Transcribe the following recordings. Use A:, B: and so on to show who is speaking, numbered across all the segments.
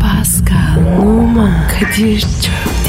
A: Pascal, Oman, Kadir çok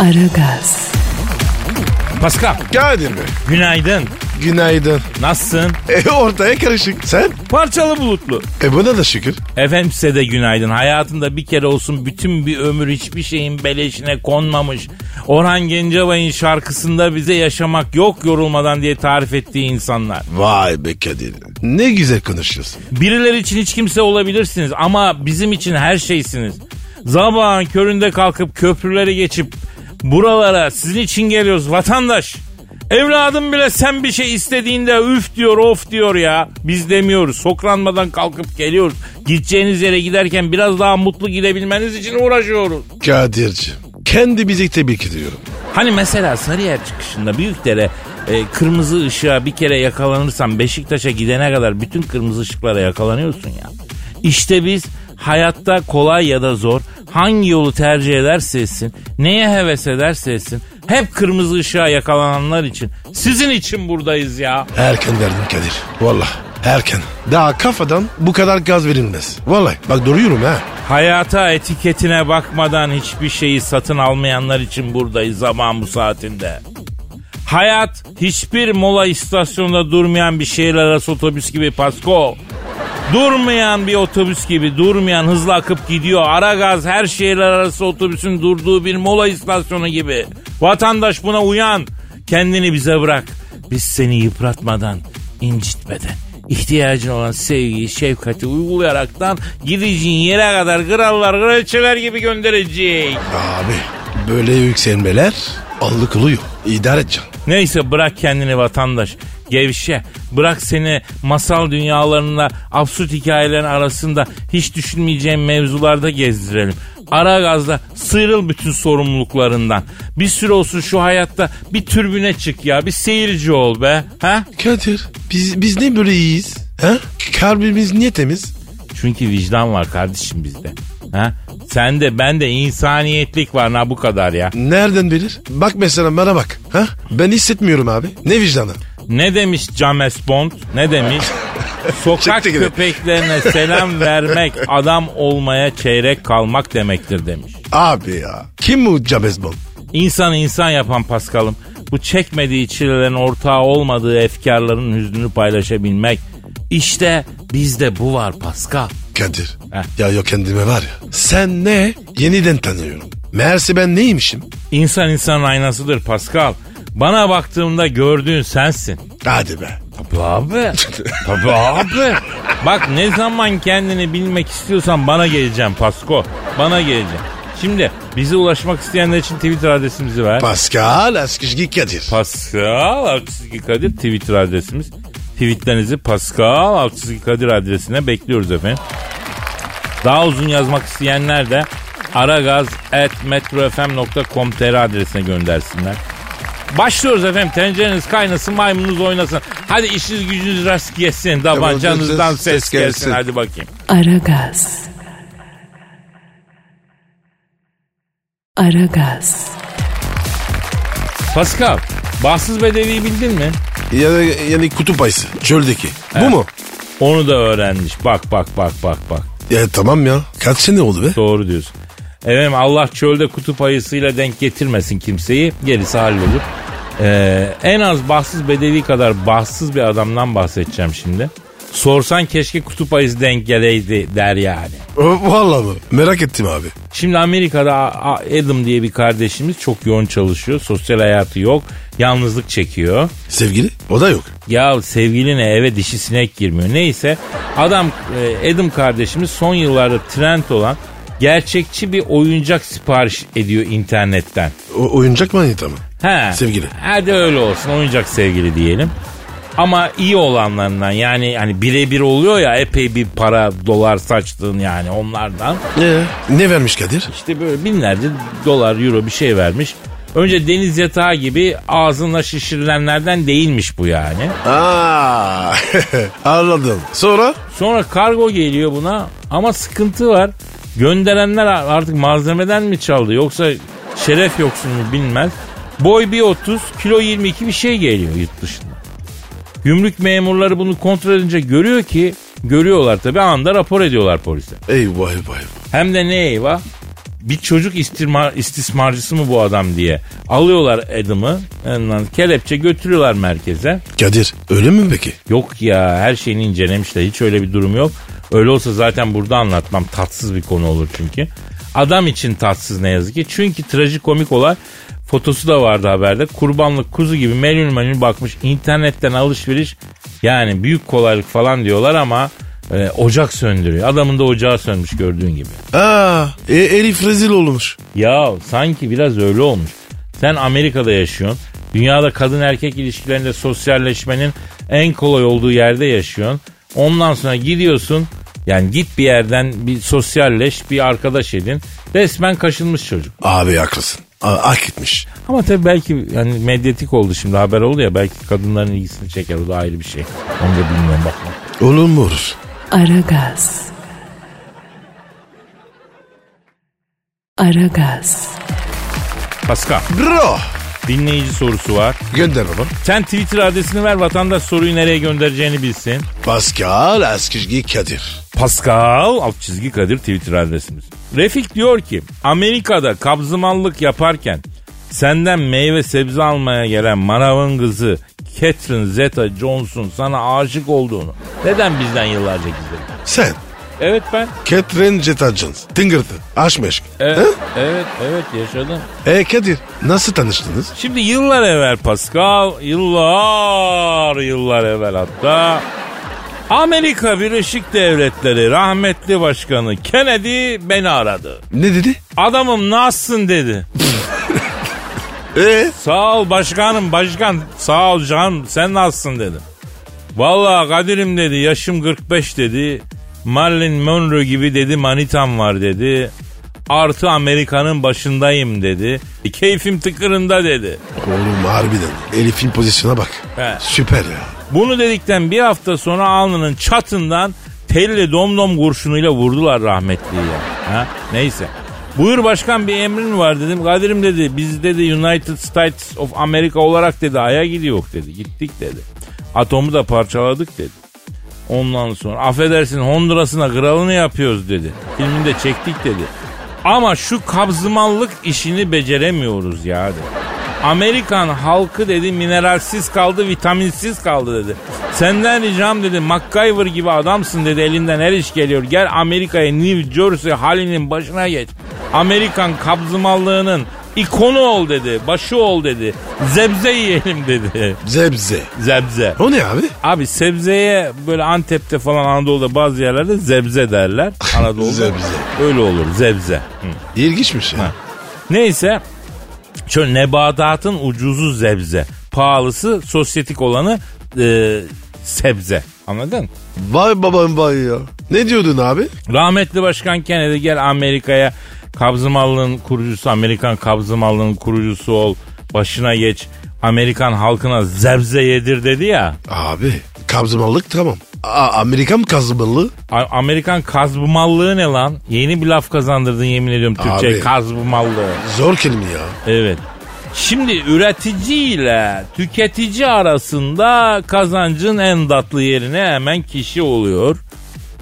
A: Aragaz,
B: Pascal.
C: Geldin mi?
B: Günaydın.
C: Günaydın.
B: Nasılsın?
C: E ortaya karışık. Sen?
B: Parçalı bulutlu.
C: E buna da şükür.
B: Efendim size de günaydın. Hayatında bir kere olsun bütün bir ömür hiçbir şeyin beleşine konmamış. Orhan Gencebay'ın şarkısında bize yaşamak yok yorulmadan diye tarif ettiği insanlar.
C: Vay be Kadir. Ne güzel konuşuyorsun.
B: Birileri için hiç kimse olabilirsiniz ama bizim için her şeysiniz. Zabağın köründe kalkıp köprüleri geçip buralara sizin için geliyoruz vatandaş. Evladım bile sen bir şey istediğinde üf diyor of diyor ya. Biz demiyoruz. Sokranmadan kalkıp geliyoruz. Gideceğiniz yere giderken biraz daha mutlu gidebilmeniz için uğraşıyoruz.
C: Kadir'cim. Kendi bizi tebrik ediyorum.
B: Hani mesela Sarıyer çıkışında Büyükdere e, kırmızı ışığa bir kere yakalanırsan Beşiktaş'a gidene kadar bütün kırmızı ışıklara yakalanıyorsun ya. İşte biz hayatta kolay ya da zor hangi yolu tercih ederse etsin, neye heves ederse etsin hep kırmızı ışığa yakalananlar için sizin için buradayız ya.
C: Erken verdin Kadir. Vallahi erken. Daha kafadan bu kadar gaz verilmez. Vallahi bak duruyorum ha.
B: Hayata etiketine bakmadan hiçbir şeyi satın almayanlar için buradayız zaman bu saatinde. Hayat hiçbir mola istasyonunda durmayan bir şehir arası otobüs gibi Pasko. Durmayan bir otobüs gibi durmayan hızla akıp gidiyor. Ara gaz her şehirler arası otobüsün durduğu bir mola istasyonu gibi. Vatandaş buna uyan. Kendini bize bırak. Biz seni yıpratmadan, incitmeden, ihtiyacın olan sevgiyi, şefkati uygulayaraktan gideceğin yere kadar krallar, kraliçeler gibi gönderecek.
C: Abi böyle yükselmeler allık oluyor. İdare edeceksin.
B: Neyse bırak kendini vatandaş. Gevşe. Bırak seni masal dünyalarında, absürt hikayelerin arasında hiç düşünmeyeceğin mevzularda gezdirelim. Ara gazla sıyrıl bütün sorumluluklarından. Bir süre olsun şu hayatta bir türbüne çık ya. Bir seyirci ol be. Ha?
C: Kadir biz, biz ne böyle iyiyiz? Ha? Kalbimiz niye temiz?
B: Çünkü vicdan var kardeşim bizde. Ha? Sen de ben de insaniyetlik var na bu kadar ya.
C: Nereden bilir? Bak mesela bana bak. Ha? Ben hissetmiyorum abi. Ne vicdanı?
B: Ne demiş James Bond? Ne demiş? Sokak
C: Çıktı yine.
B: köpeklerine selam vermek adam olmaya çeyrek kalmak demektir demiş.
C: Abi ya. Kim bu James Bond?
B: İnsanı insan yapan Paskal'ım bu çekmediği çilelerin ortağı olmadığı efkarların hüznünü paylaşabilmek. İşte bizde bu var Paskal.
C: Kadir.
B: Heh.
C: Ya yok kendime var ya. Sen ne? Yeniden tanıyorum. Meğerse ben neymişim?
B: İnsan insanın aynasıdır Paskal. Bana baktığımda gördüğün sensin.
C: Hadi be.
B: Tabii abi. Tabii abi. Bak ne zaman kendini bilmek istiyorsan bana geleceğim Pasko. Bana geleceğim. Şimdi bize ulaşmak isteyenler için Twitter adresimizi ver.
C: Pascal Askışgi Kadir.
B: Pascal Altçizgi Kadir Twitter adresimiz. Tweetlerinizi Pascal Altçizgi Kadir adresine bekliyoruz efendim. Daha uzun yazmak isteyenler de aragaz.metrofm.com.tr adresine göndersinler. Başlıyoruz efendim. Tencereniz kaynasın, maymununuz oynasın. Hadi işiniz gücünüz rast gelsin. Tabancanızdan
C: Tabancanız
B: ses
C: ses gelsin.
B: gelsin. Hadi bakayım.
A: Aragaz. Aragaz,
B: Pascal, Bahtsız Bedevi'yi bildin mi?
C: Yani, yani kutup ayısı. Çöldeki. Bu mu?
B: Onu da öğrenmiş. Bak bak bak bak bak.
C: Ya tamam ya. Kaç sene oldu be?
B: Doğru diyorsun. Efendim Allah çölde kutup ayısıyla denk getirmesin kimseyi. Gerisi hallolur. Ee, en az bahtsız bedevi kadar bahtsız bir adamdan bahsedeceğim şimdi. Sorsan keşke kutup ayısı denk geleydi der yani.
C: O- Vallahi mı? Merak ettim abi.
B: Şimdi Amerika'da A- A- Adam diye bir kardeşimiz çok yoğun çalışıyor. Sosyal hayatı yok. Yalnızlık çekiyor.
C: Sevgili? O da yok.
B: Ya sevgiline eve dişi sinek girmiyor. Neyse adam e, Adam kardeşimiz son yıllarda trend olan gerçekçi bir oyuncak sipariş ediyor internetten.
C: O, oyuncak manyeta mı?
B: He.
C: Sevgili.
B: Hadi öyle olsun oyuncak sevgili diyelim. Ama iyi olanlarından yani hani birebir oluyor ya epey bir para dolar saçtığın yani onlardan.
C: Ee, ne vermiş Kadir?
B: İşte böyle binlerce dolar euro bir şey vermiş. Önce deniz yatağı gibi ağzınla şişirilenlerden değilmiş bu yani.
C: Aa, anladım. Sonra?
B: Sonra kargo geliyor buna ama sıkıntı var. Gönderenler artık malzemeden mi çaldı yoksa şeref yoksun mu bilmez. Boy bir 30 kilo 22 bir şey geliyor yurt dışında. Gümrük memurları bunu kontrol edince görüyor ki görüyorlar tabi anda rapor ediyorlar polise.
C: Eyvah eyvah.
B: Hem de ne eyvah? Bir çocuk istirma, istismarcısı mı bu adam diye. Alıyorlar adımı. ondan Kelepçe götürüyorlar merkeze.
C: Kadir öyle mi peki?
B: Yok ya her şeyini incelemişler. Hiç öyle bir durum yok. Öyle olsa zaten burada anlatmam. Tatsız bir konu olur çünkü. Adam için tatsız ne yazık ki. Çünkü trajikomik olay fotosu da vardı haberde. Kurbanlık kuzu gibi melül melül bakmış. internetten alışveriş yani büyük kolaylık falan diyorlar ama e, ocak söndürüyor. Adamın da ocağı sönmüş gördüğün gibi.
C: Aa, e, Elif rezil olmuş.
B: Ya sanki biraz öyle olmuş. Sen Amerika'da yaşıyorsun. Dünyada kadın erkek ilişkilerinde sosyalleşmenin en kolay olduğu yerde yaşıyorsun. Ondan sonra gidiyorsun. Yani git bir yerden bir sosyalleş, bir arkadaş edin. Resmen kaşınmış çocuk.
C: Abi haklısın. A- hak etmiş.
B: Ama tabii belki yani medyatik oldu şimdi haber oldu ya belki kadınların ilgisini çeker o da ayrı bir şey. Onu da bilmiyorum bakma.
C: Olur mu olur?
A: Aragaz. Aragaz.
B: Pascal
C: Bro.
B: dinleyici sorusu var.
C: Gönder baba.
B: Sen Twitter adresini ver vatandaş soruyu nereye göndereceğini bilsin.
C: Pascal Askizgi Kadir.
B: Pascal alt çizgi Kadir Twitter adresimiz. Refik diyor ki Amerika'da kabzımallık yaparken senden meyve sebze almaya gelen manavın kızı Catherine Zeta Johnson sana aşık olduğunu neden bizden yıllarca gizledin?
C: Sen.
B: Evet ben.
C: Catherine Zeta Jones. Tingırtı. Aşk meşk.
B: Evet,
C: Ha?
B: evet, evet yaşadım.
C: E Kadir nasıl tanıştınız?
B: Şimdi yıllar evvel Pascal, yıllar yıllar evvel hatta Amerika Birleşik Devletleri rahmetli başkanı Kennedy beni aradı.
C: Ne dedi?
B: Adamım nasılsın dedi.
C: E
B: Sağ ol başkanım başkan sağ ol canım sen nasılsın dedim. Vallahi Kadir'im dedi yaşım 45 dedi. Marilyn Monroe gibi dedi manitam var dedi. Artı Amerika'nın başındayım dedi. E, keyfim tıkırında dedi.
C: Oğlum harbiden. Elif'in pozisyona bak.
B: He.
C: Süper ya.
B: Bunu dedikten bir hafta sonra alnının çatından telli domdom kurşunuyla vurdular rahmetliyi ya. Ha? Neyse. Buyur başkan bir emrin var dedim. Kadir'im dedi biz dedi United States of America olarak dedi aya gidiyor dedi. Gittik dedi. Atomu da parçaladık dedi. Ondan sonra affedersin Honduras'ına kralını yapıyoruz dedi. Filmini de çektik dedi. Ama şu kabzımallık işini beceremiyoruz ya dedi. Amerikan halkı dedi mineralsiz kaldı, vitaminsiz kaldı dedi. Senden ricam dedi MacGyver gibi adamsın dedi elinden her iş geliyor. Gel Amerika'ya New Jersey halinin başına geç. Amerikan kabzımallığının ikonu ol dedi, başı ol dedi. Zebze yiyelim dedi.
C: Zebze.
B: Zebze.
C: O ne abi?
B: Abi sebzeye böyle Antep'te falan Anadolu'da bazı yerlerde zebze derler. Anadolu'da.
C: Zebze.
B: Öyle olur zebze. Hı.
C: İlginçmiş ya.
B: Neyse şöyle nebadatın ucuzu zebze. Pahalısı sosyetik olanı e, sebze. Anladın?
C: Vay babam vay ya. Ne diyordun abi?
B: Rahmetli Başkan Kennedy gel Amerika'ya kabzımallığın kurucusu, Amerikan kabzımallığının kurucusu ol. Başına geç. Amerikan halkına zebze yedir dedi ya.
C: Abi kabzımallık tamam. A Amerikan kazımalı.
B: A- Amerikan kazbumallığı ne lan? Yeni bir laf kazandırdın yemin ediyorum Türkçe'ye
C: Abi.
B: kazbumallığı.
C: Zor kelime ya.
B: Evet. Şimdi üretici ile tüketici arasında kazancın en tatlı yerine hemen kişi oluyor.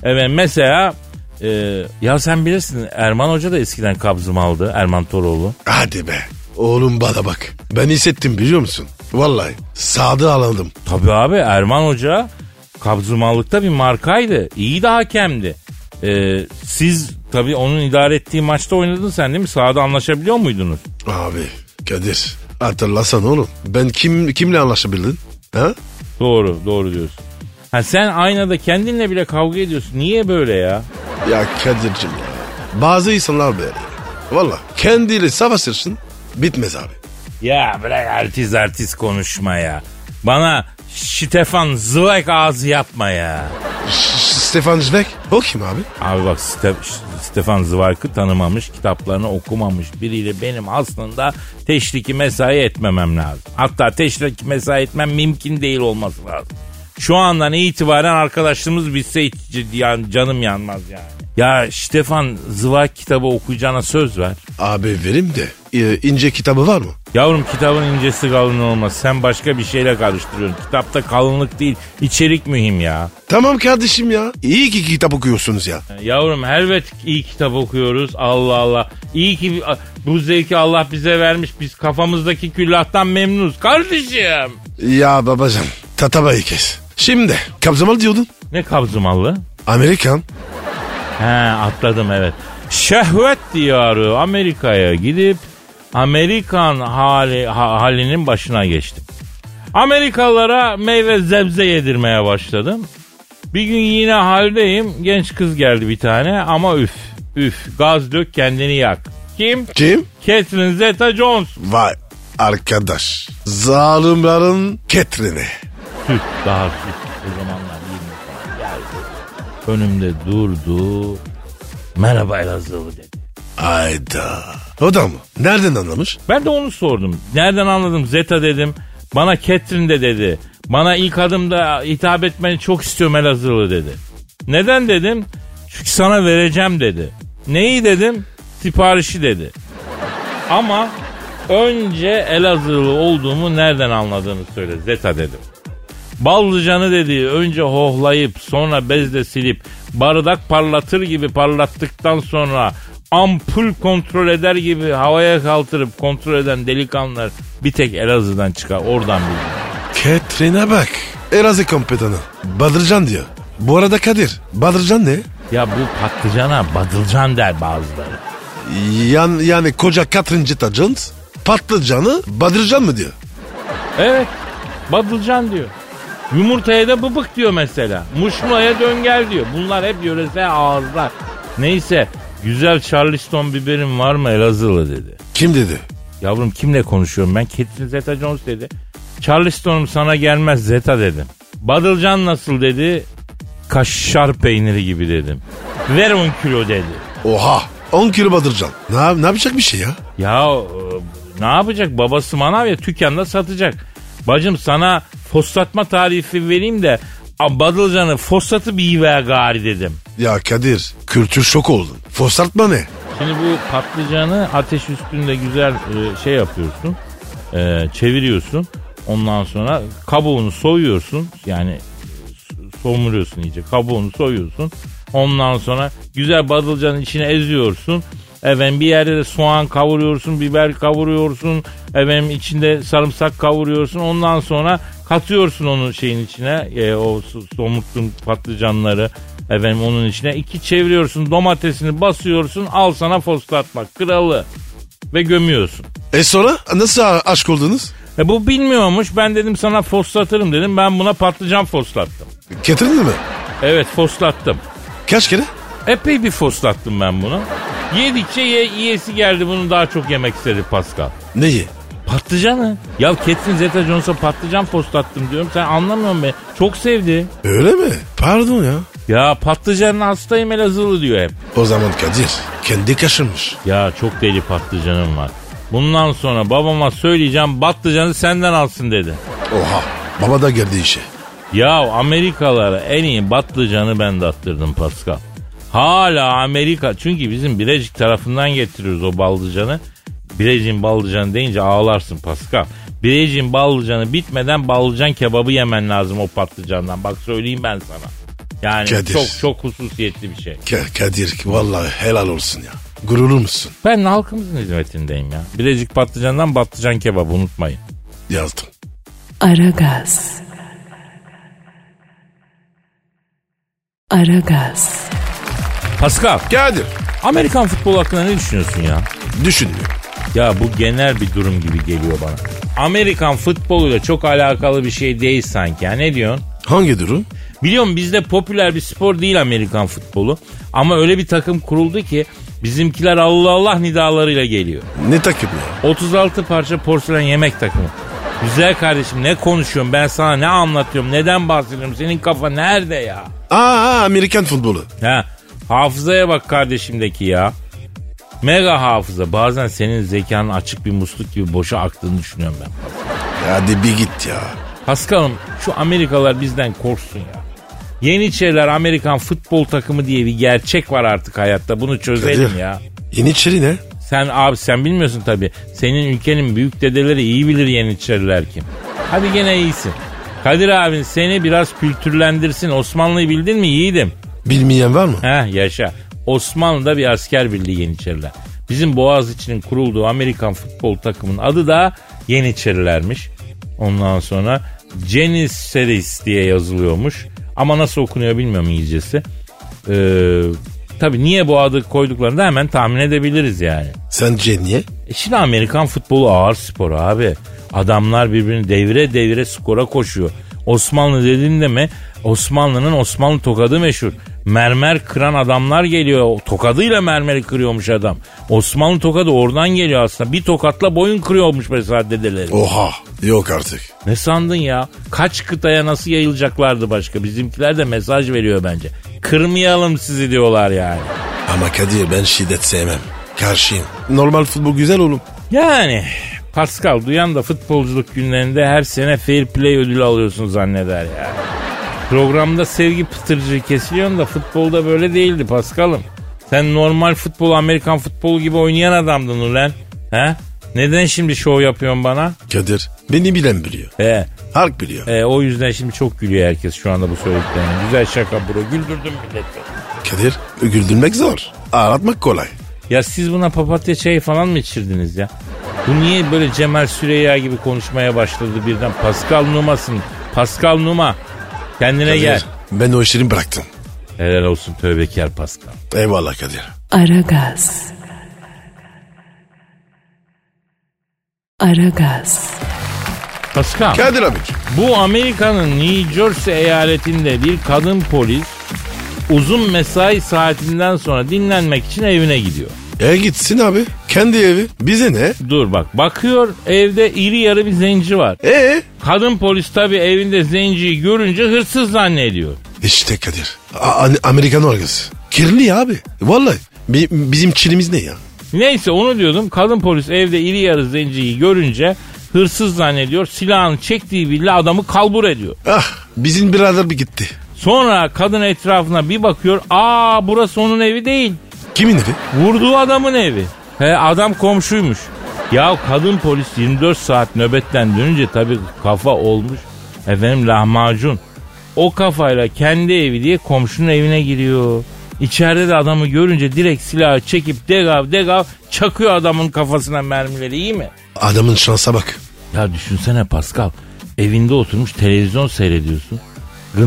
B: Evet mesela e, ya sen bilirsin Erman Hoca da eskiden kabzım aldı Erman Toroğlu.
C: Hadi be. Oğlum bana bak. Ben hissettim biliyor musun? Vallahi sadı alandım.
B: Tabii abi Erman Hoca kabzımallıkta bir markaydı. İyi de hakemdi. E, siz tabii onun idare ettiği maçta oynadın sen değil mi? Sahada anlaşabiliyor muydunuz?
C: Abi Kadir hatırlasan oğlum. Ben kim kimle anlaşabildin? Ha?
B: Doğru doğru diyorsun. Ha sen aynada kendinle bile kavga ediyorsun. Niye böyle ya?
C: Ya Kadir'cim ya. Bazı insanlar böyle. Valla kendiyle savaşırsın bitmez abi.
B: Ya bırak artist artist konuşma ya. Bana Stefan Zweig ağzı yapma ya.
C: Stefan Zweig. O kim abi?
B: Abi bak Ste- Stefan Zweig'ı tanımamış, kitaplarını okumamış biriyle benim aslında teşriki mesai etmemem lazım. Hatta teşriki mesai etmem mümkün değil olması lazım. Şu andan itibaren arkadaşlığımız bitse hiç c- yani canım yanmaz yani. Ya Stefan Zweig kitabı okuyacağına söz ver.
C: Abi verim de e, ince kitabı var mı?
B: Yavrum kitabın incesi kalın olmaz. Sen başka bir şeyle karıştırıyorsun. Kitapta kalınlık değil, içerik mühim ya.
C: Tamam kardeşim ya. İyi ki kitap okuyorsunuz ya.
B: Yavrum elbet iyi kitap okuyoruz. Allah Allah. İyi ki bu zevki Allah bize vermiş. Biz kafamızdaki küllahtan memnunuz. Kardeşim.
C: Ya babacım tatabayı kes. Şimdi kabzamalı diyordun.
B: Ne kabzımalı?
C: Amerikan.
B: He atladım evet. Şehvet diyarı Amerika'ya gidip Amerikan hali, ha- halinin başına geçtim. Amerikalılara meyve zebze yedirmeye başladım. Bir gün yine haldeyim. Genç kız geldi bir tane ama üf üf gaz dök kendini yak. Kim?
C: Kim?
B: Catherine Zeta Jones.
C: Vay arkadaş. Zalimlerin ketrini.
B: Süt daha süt. O zamanlar 20 falan geldi. Önümde durdu. Merhaba Elazığlı dedi.
C: Ayda. O da mı? Nereden anlamış?
B: Ben de onu sordum. Nereden anladım? Zeta dedim. Bana Catherine de dedi. Bana ilk adımda hitap etmeni çok istiyorum Elazığlı dedi. Neden dedim? Çünkü sana vereceğim dedi. Neyi dedim? Siparişi dedi. Ama önce Elazığlı olduğumu nereden anladığını söyle Zeta dedim. Ballıcanı dediği önce hohlayıp sonra bezle silip bardak parlatır gibi parlattıktan sonra ampul kontrol eder gibi havaya kaldırıp kontrol eden delikanlılar bir tek Elazığ'dan çıkar oradan bilir.
C: Ketrine bak. Erazi kompetanı. Badırcan diyor. Bu arada Kadir. Badırcan ne?
B: Ya bu patlıcana badılcan der bazıları.
C: Yan, yani koca Katrin Cita Jones patlıcanı Badırcan mı diyor?
B: Evet badılcan diyor. Yumurtaya da bıbık diyor mesela. Muşmulaya döngel diyor. Bunlar hep yöresel ağızlar. Neyse güzel Charleston biberim var mı Elazığlı dedi.
C: Kim dedi?
B: Yavrum kimle konuşuyorum ben? Catherine Zeta Jones dedi. Charleston'um sana gelmez Zeta dedim. Badılcan nasıl dedi? Kaşar peyniri gibi dedim. Ver 10 kilo dedi.
C: Oha 10 kilo Badırcan. Ne, yap- ne yapacak bir şey ya?
B: Ya e, ne yapacak babası manav ya dükkanda satacak. Bacım sana foslatma tarifi vereyim de a, Badılcan'ı foslatı bir ver gari dedim.
C: Ya Kadir kültür şok oldun. Foslatma ne?
B: Şimdi bu patlıcanı ateş üstünde güzel e, şey yapıyorsun. E, çeviriyorsun. Ondan sonra kabuğunu soyuyorsun. Yani e, so- somuruyorsun iyice. Kabuğunu soyuyorsun. Ondan sonra güzel badılcanın içine eziyorsun. Efendim bir yerde de soğan kavuruyorsun, biber kavuruyorsun. Efendim içinde sarımsak kavuruyorsun. Ondan sonra katıyorsun onun şeyin içine. e, o so- somurttuğun patlıcanları. Efendim onun içine iki çeviriyorsun domatesini basıyorsun al sana foslatmak kralı ve gömüyorsun.
C: E sonra nasıl a- aşk oldunuz?
B: E bu bilmiyormuş ben dedim sana foslatırım dedim ben buna patlıcan foslattım.
C: Getirdin mi?
B: Evet foslattım.
C: Kaç kere?
B: Epey bir foslattım ben bunu. Yedikçe ye, yiyesi geldi bunu daha çok yemek istedi Pascal.
C: Neyi?
B: Patlıcanı. Ya Catherine Zeta Jones'a patlıcan foslattım diyorum. Sen anlamıyorsun beni. Çok sevdi.
C: Öyle mi? Pardon ya.
B: Ya patlıcanın hastayım Elazığlı diyor hep.
C: O zaman Kadir kendi kaşınmış.
B: Ya çok deli patlıcanım var. Bundan sonra babama söyleyeceğim patlıcanı senden alsın dedi.
C: Oha baba da geldi işe.
B: Ya Amerikalara en iyi patlıcanı ben de attırdım Pascal. Hala Amerika çünkü bizim Bilecik tarafından getiriyoruz o baldıcanı. Bilecik'in baldıcanı deyince ağlarsın Pascal. Bilecik'in baldıcanı bitmeden baldıcan kebabı yemen lazım o patlıcandan. Bak söyleyeyim ben sana. Yani
C: Kadir.
B: çok çok hususiyetli bir şey.
C: Ka- Kadir vallahi helal olsun ya. Gururlu musun?
B: Ben halkımızın hizmetindeyim ya. Bilecik patlıcandan patlıcan kebabı unutmayın.
C: Yazdım.
A: Aragaz. Aragaz.
B: Pascal,
C: Kadir
B: Amerikan futbolu hakkında ne düşünüyorsun ya?
C: düşünmüyor.
B: Ya bu genel bir durum gibi geliyor bana. Amerikan futboluyla çok alakalı bir şey değil sanki. Ya. Ne diyorsun?
C: Hangi durum?
B: Biliyorum bizde popüler bir spor değil Amerikan futbolu. Ama öyle bir takım kuruldu ki bizimkiler Allah Allah nidalarıyla geliyor.
C: Ne takip ya?
B: 36 parça porselen yemek takımı. Güzel kardeşim ne konuşuyorum ben sana ne anlatıyorum neden bahsediyorum senin kafa nerede ya?
C: Aa, Amerikan futbolu.
B: Ha, hafızaya bak kardeşimdeki ya. Mega hafıza. Bazen senin zekanın açık bir musluk gibi boşa aktığını düşünüyorum ben.
C: Hadi bir git ya.
B: Paskal'ım şu Amerikalılar bizden korksun ya. Yeniçeriler Amerikan futbol takımı diye bir gerçek var artık hayatta. Bunu çözelim
C: Kadir.
B: ya.
C: Yeniçeri ne?
B: Sen abi sen bilmiyorsun tabii. Senin ülkenin büyük dedeleri iyi bilir Yeniçeriler kim. Hadi gene iyisin. Kadir abin seni biraz kültürlendirsin. Osmanlı'yı bildin mi yiğidim?
C: Bilmeyen var mı?
B: Heh yaşa. Osmanlı'da bir asker birliği Yeniçeriler. Bizim Boğaziçi'nin kurulduğu Amerikan futbol takımının adı da Yeniçerilermiş. Ondan sonra Janissaries diye yazılıyormuş. Ama nasıl okunuyor bilmiyorum İngilizcesi. Ee, tabii niye bu adı koyduklarını da hemen tahmin edebiliriz yani.
C: Sence niye?
B: E Şimdi Amerikan futbolu ağır spor abi. Adamlar birbirini devire devire skora koşuyor. Osmanlı dediğinde mi Osmanlı'nın Osmanlı tokadı meşhur. Mermer kıran adamlar geliyor. O Tokadıyla mermeri kırıyormuş adam. Osmanlı tokadı oradan geliyor aslında. Bir tokatla boyun kırıyormuş mesela dedeleri.
C: Oha yok artık.
B: Ne sandın ya? Kaç kıtaya nasıl yayılacaklardı başka? Bizimkiler de mesaj veriyor bence. Kırmayalım sizi diyorlar yani.
C: Ama Kadir ben şiddet sevmem. Karşıyım. Normal futbol güzel oğlum.
B: Yani Pascal duyan da futbolculuk günlerinde her sene fair play ödülü alıyorsun zanneder ya. Programda sevgi pıtırcığı kesiliyorsun da futbolda böyle değildi Pascal'ım. Sen normal futbol Amerikan futbolu gibi oynayan adamdın ulan. He? Neden şimdi şov yapıyorsun bana?
C: Kadir beni bilen biliyor.
B: He,
C: Halk biliyor.
B: e, o yüzden şimdi çok gülüyor herkes şu anda bu söylediklerine. Güzel şaka bro. Güldürdün milleti.
C: Kadir güldürmek zor. Ağlatmak kolay.
B: Ya siz buna papatya çayı falan mı içirdiniz ya? Bu niye böyle Cemal Süreya gibi konuşmaya başladı birden? Pascal Numa'sın. Pascal Numa. Kendine gel.
C: Ben o işleri bıraktım.
B: Helal olsun tövbekar Pascal.
C: Eyvallah Kadir.
A: Aragaz. Aragaz.
B: Pascal.
C: Kadir abi.
B: Bu Amerika'nın New Jersey eyaletinde bir kadın polis uzun mesai saatinden sonra dinlenmek için evine gidiyor.
C: E gitsin abi. Kendi evi. Bize ne?
B: Dur bak bakıyor evde iri yarı bir zenci var.
C: E
B: Kadın polis tabi evinde zenciyi görünce hırsız zannediyor.
C: İşte Kadir. A- A- Amerikan orgası. Kirli ya abi. Vallahi. Bi- bizim çilimiz ne ya?
B: Neyse onu diyordum. Kadın polis evde iri yarı zenciyi görünce hırsız zannediyor. Silahını çektiği bile adamı kalbur ediyor.
C: Ah bizim birader bir gitti.
B: Sonra kadın etrafına bir bakıyor. Aa burası onun evi değil.
C: Kimin evi?
B: Vurduğu adamın evi. He adam komşuymuş. Ya kadın polis 24 saat nöbetten dönünce tabii kafa olmuş. Efendim lahmacun. O kafayla kendi evi diye komşunun evine giriyor. İçeride de adamı görünce direkt silahı çekip degav degav çakıyor adamın kafasına mermileri iyi mi?
C: Adamın şansa bak.
B: Ya düşünsene Pascal. Evinde oturmuş televizyon seyrediyorsun.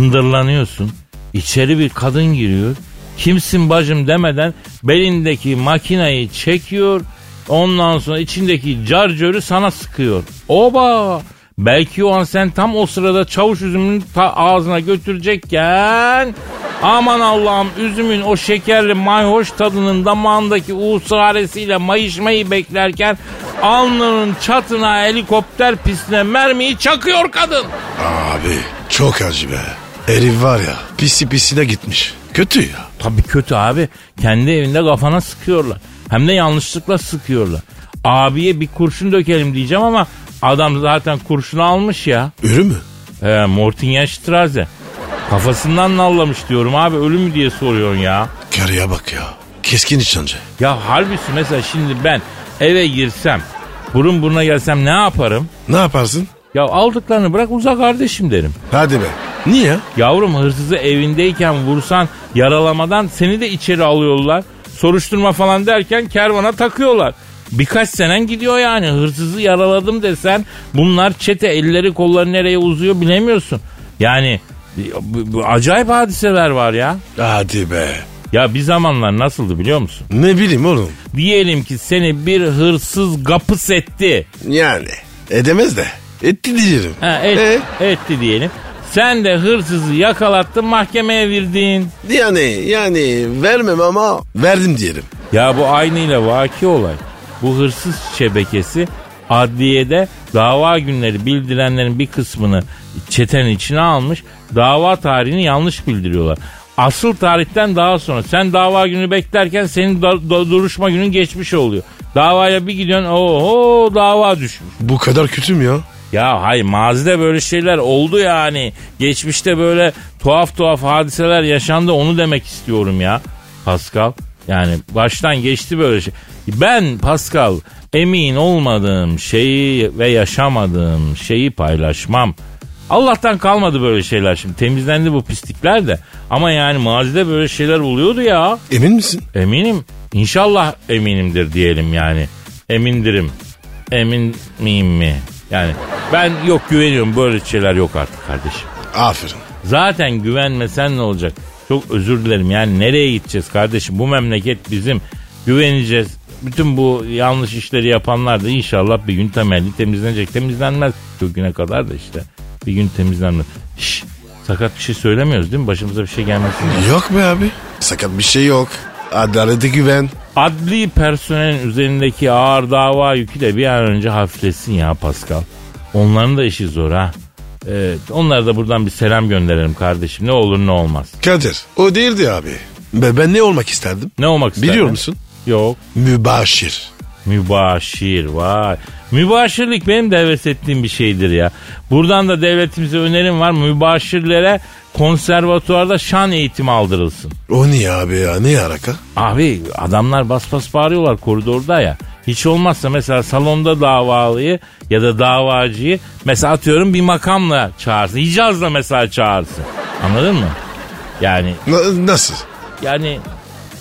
B: Gındırlanıyorsun. İçeri bir kadın giriyor. Kimsin bacım demeden belindeki makinayı çekiyor. Ondan sonra içindeki carcörü sana sıkıyor. Oba! Belki o an sen tam o sırada çavuş üzümünü ta ağzına götürecekken aman Allah'ım üzümün o şekerli mayhoş tadının damağındaki usaresiyle mayışmayı beklerken alnının çatına helikopter pistine mermiyi çakıyor kadın.
C: Abi çok acı be. Herif var ya pisi pisine gitmiş. Kötü ya.
B: Tabii kötü abi. Kendi evinde kafana sıkıyorlar. Hem de yanlışlıkla sıkıyorlar. Abiye bir kurşun dökelim diyeceğim ama adam zaten kurşunu almış ya.
C: Ürü mü?
B: He, Mortingen Strasse. Kafasından nallamış diyorum abi ölü mü diye soruyorsun ya.
C: Karıya bak ya. Keskin nişancı.
B: Ya harbisi mesela şimdi ben eve girsem burun buruna gelsem ne yaparım?
C: Ne yaparsın?
B: Ya aldıklarını bırak uzak kardeşim derim.
C: Hadi be. Niye?
B: Yavrum hırsızı evindeyken vursan yaralamadan seni de içeri alıyorlar. Soruşturma falan derken kervana takıyorlar. Birkaç senen gidiyor yani hırsızı yaraladım desen bunlar çete elleri kolları nereye uzuyor bilemiyorsun. Yani bu- bu acayip hadiseler var ya.
C: Hadi be.
B: Ya bir zamanlar nasıldı biliyor musun?
C: Ne bileyim oğlum.
B: Diyelim ki seni bir hırsız gapıs etti.
C: Yani. Edemez de. Etti diyeceğim.
B: Ha, et, Etti diyelim. Sen de hırsızı yakalattın mahkemeye verdin.
C: E, yani yani vermem ama verdim diyelim.
B: Ya bu aynıyla vaki olay. Bu hırsız şebekesi Adliyede dava günleri bildirenlerin bir kısmını çetenin içine almış. Dava tarihini yanlış bildiriyorlar. Asıl tarihten daha sonra sen dava günü beklerken senin da- da- duruşma günün geçmiş oluyor. Davaya bir gidiyorsun oho dava düşmüş.
C: Bu kadar kötü mü ya?
B: Ya hay mazide böyle şeyler oldu yani. Geçmişte böyle tuhaf tuhaf hadiseler yaşandı onu demek istiyorum ya. Pascal yani baştan geçti böyle şey. Ben Pascal emin olmadığım şeyi ve yaşamadığım şeyi paylaşmam. Allah'tan kalmadı böyle şeyler şimdi. Temizlendi bu pislikler de. Ama yani mazide böyle şeyler oluyordu ya.
C: Emin misin?
B: Eminim. İnşallah eminimdir diyelim yani. Emindirim. Emin miyim mi? Yani ben yok güveniyorum böyle şeyler yok artık kardeşim.
C: Aferin.
B: Zaten güvenmesen ne olacak? Çok özür dilerim yani nereye gideceğiz kardeşim? Bu memleket bizim. Güveneceğiz. Bütün bu yanlış işleri yapanlar da inşallah bir gün temelli temizlenecek. Temizlenmez bugüne kadar da işte. Bir gün temizlenmez. Şşş sakat bir şey söylemiyoruz değil mi? Başımıza bir şey gelmesin. diye.
C: Yok be abi. Sakat bir şey yok. Adalete güven.
B: Adli personelin üzerindeki ağır dava yükü de bir an önce hafiflesin ya Pascal. Onların da işi zor ha. Evet, onlara da buradan bir selam gönderelim kardeşim. Ne olur ne olmaz.
C: Kadir o değildi abi. Ben, ben ne olmak isterdim?
B: Ne olmak ister?
C: Biliyor musun?
B: Yok.
C: Mübaşir.
B: Mübaşir vay. Mübaşirlik benim de heves ettiğim bir şeydir ya. Buradan da devletimize önerim var. Mübaşirlere konservatuvarda şan eğitimi aldırılsın.
C: O niye abi ya? Ne yaraka?
B: Abi adamlar bas bas bağırıyorlar koridorda ya. Hiç olmazsa mesela salonda davalıyı ya da davacıyı mesela atıyorum bir makamla çağırsın. Hicaz'la mesela çağırsın. Anladın mı? Yani
C: Na- nasıl?
B: yani